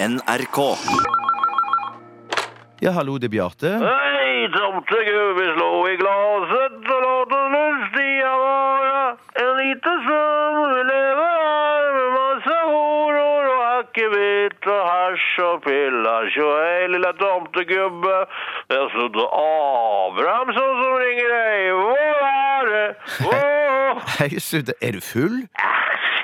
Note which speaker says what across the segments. Speaker 1: NRK.
Speaker 2: Ja, hallo, det er Bjarte.
Speaker 3: Hei, tomtegubbe, slå i glaset og låt oss lystige være. En liten søvn vi lever her, med masse horor og akevitt og hasj og piller. Tjo hei, lille tomtegubbe. Det er Sludd Abrahamsson som ringer deg. Hvor er det? Hvor?
Speaker 2: Hei, Sudde. Er du full?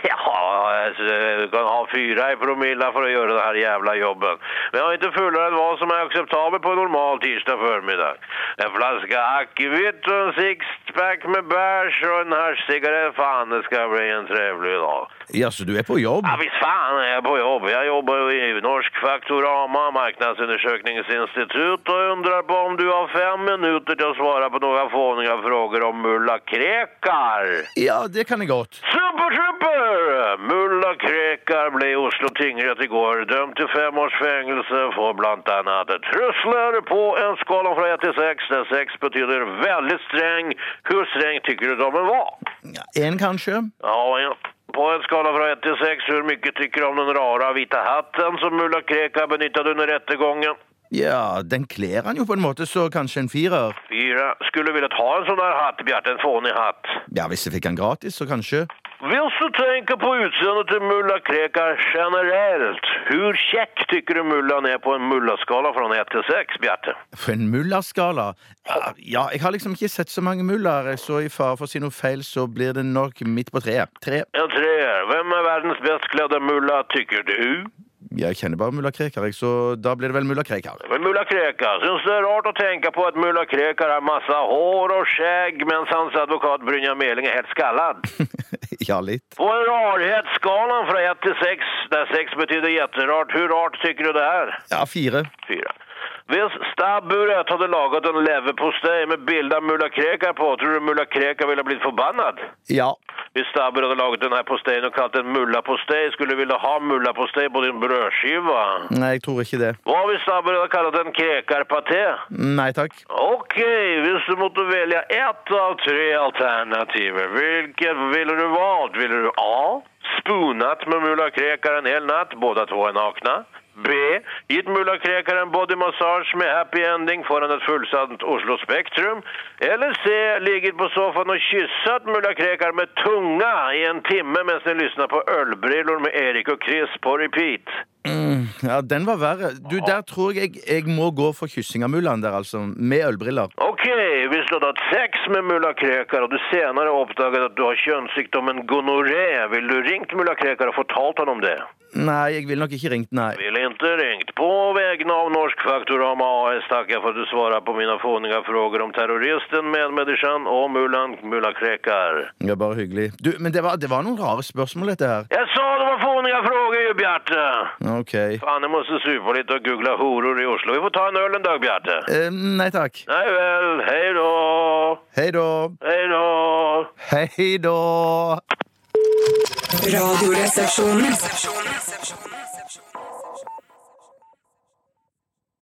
Speaker 3: Ja, alltså, du kan ha fyra i promilla för att göra den här jävla jobben. Men jag är inte fullare än vad som är acceptabelt på en normal tisdag förmiddag. En flaska akvavit och en sixpack med bärs och en haschcigarett. Fan, det ska bli en trevlig dag.
Speaker 2: Ja, så du er på jobb?
Speaker 3: Ja, visst fan är jag på jobb. Jag jobbar ju i Norsk Faktorama, marknadsundersökningsinstitut och undrar på om du har fem minuter till att svara på några fåniga frågor om mulla krekar.
Speaker 2: Ja, det kan jeg godt.
Speaker 3: Super, super! Mulla Krekar ble i Oslo tingrett i går dømt til fem års fengelse for blant annet trusler på en skala fra 1 til 6, der 6 betyder veldig streng. Hvor streng tykker du dommen var?
Speaker 2: Ja, En, kanskje?
Speaker 3: Ja, ja. På en skala fra 1 til 6, hvor mye tykker du om den rara hvite hatten som Mulla Krekar benyttet under rettegången?
Speaker 2: Ja, den kler han jo på en måte, så kanskje en firer.
Speaker 3: Fyra. Skulle du villet ha en sånn der hatt, Bjarte? En fånig hatt?
Speaker 2: Ja, hvis jeg fikk han gratis, så kanskje.
Speaker 3: Hvis du tenker på utseendet til mulla Krekar generelt, hvor kjekk tykker du mullaen er på en mullaskala fra 1 til 6, Bjarte?
Speaker 2: På en mullerskala? Ja, Ja, jeg har liksom ikke sett så mange muller, så i fare for å si noe feil, så blir det nok midt på treet. Tre.
Speaker 3: En treer. Hvem er verdens best kledde mulla, tykker du?
Speaker 2: Jeg kjenner bare mullerkreker, jeg, så da blir det vel mullerkreker.
Speaker 3: Men mulla Krekar, syns det er rart å tenke på at mulla Krekar har masse hår og skjegg, mens hans advokat Brynja Meling er helt skallad?
Speaker 2: Ja, litt.
Speaker 3: På rarhetsskalaen fra 1 til 6, der 6 betyr gjetterart, hvor rart tykker du det er?
Speaker 2: Ja, fire.
Speaker 3: Fyra. Hvis stabburet hadde laget en leverpostej med bilde av mulla Krekar på, tror du mulla Krekar ville blitt forbannet?
Speaker 2: Ja.
Speaker 3: Hvis stabburet hadde laget denne posteien og kalt den mullapostei, skulle du ville ha mullapostei på din brødskive?
Speaker 2: Nei, jeg tror ikke det.
Speaker 3: Hva hvis stabburet hadde kalt den krekarpaté?
Speaker 2: Nei takk.
Speaker 3: Ok, hvis du måtte velge ett av tre alternativer, hvilket ville du valgt? Ville du A. Spoonat med mulla Krekar en hel natt, båda två är nakna. B. Gitt mulla Krekar en bodymassage med happy ending foran et fullsatt Oslo Spektrum. Eller C. Ligget på sofaen og kysset mulla Krekar med tunga i en timme mens ni lyssnar på ølbrillor med Erik og Chris på repeat.
Speaker 2: Ja, Den var verre. Du, Der tror jeg jeg, jeg må gå for kyssing av mullaen der, altså. Med ølbriller.
Speaker 3: Ok, hvis du hadde hatt sex med mulla Krekar, og du senere oppdaget at du har kjønnssykdommen gonoré, ville du ringt mulla Krekar og fortalt han om det?
Speaker 2: Nei, jeg ville nok ikke ringt, nei.
Speaker 3: Ville ikke ringt. På vegne av Norsk Faktorama AS takker jeg for at du svarer på mine fåninga frågor om terroristen, medmänniskan og mullan mulla Krekar.
Speaker 2: Ja, Bare hyggelig. Du, Men det var, det var noen rare spørsmål, dette her.
Speaker 3: Jeg sa det var fåninga frågor ju, Bjarte!
Speaker 2: Ok.
Speaker 3: Fan, jeg måste supa litt og googla horor i Oslo. Vi får ta en øl en dag, Bjarte.
Speaker 2: Eh, nei takk.
Speaker 3: Nei vel, hei då,
Speaker 2: Hei da.
Speaker 3: hei då.
Speaker 2: Hei da.
Speaker 4: Radioresepsjonen.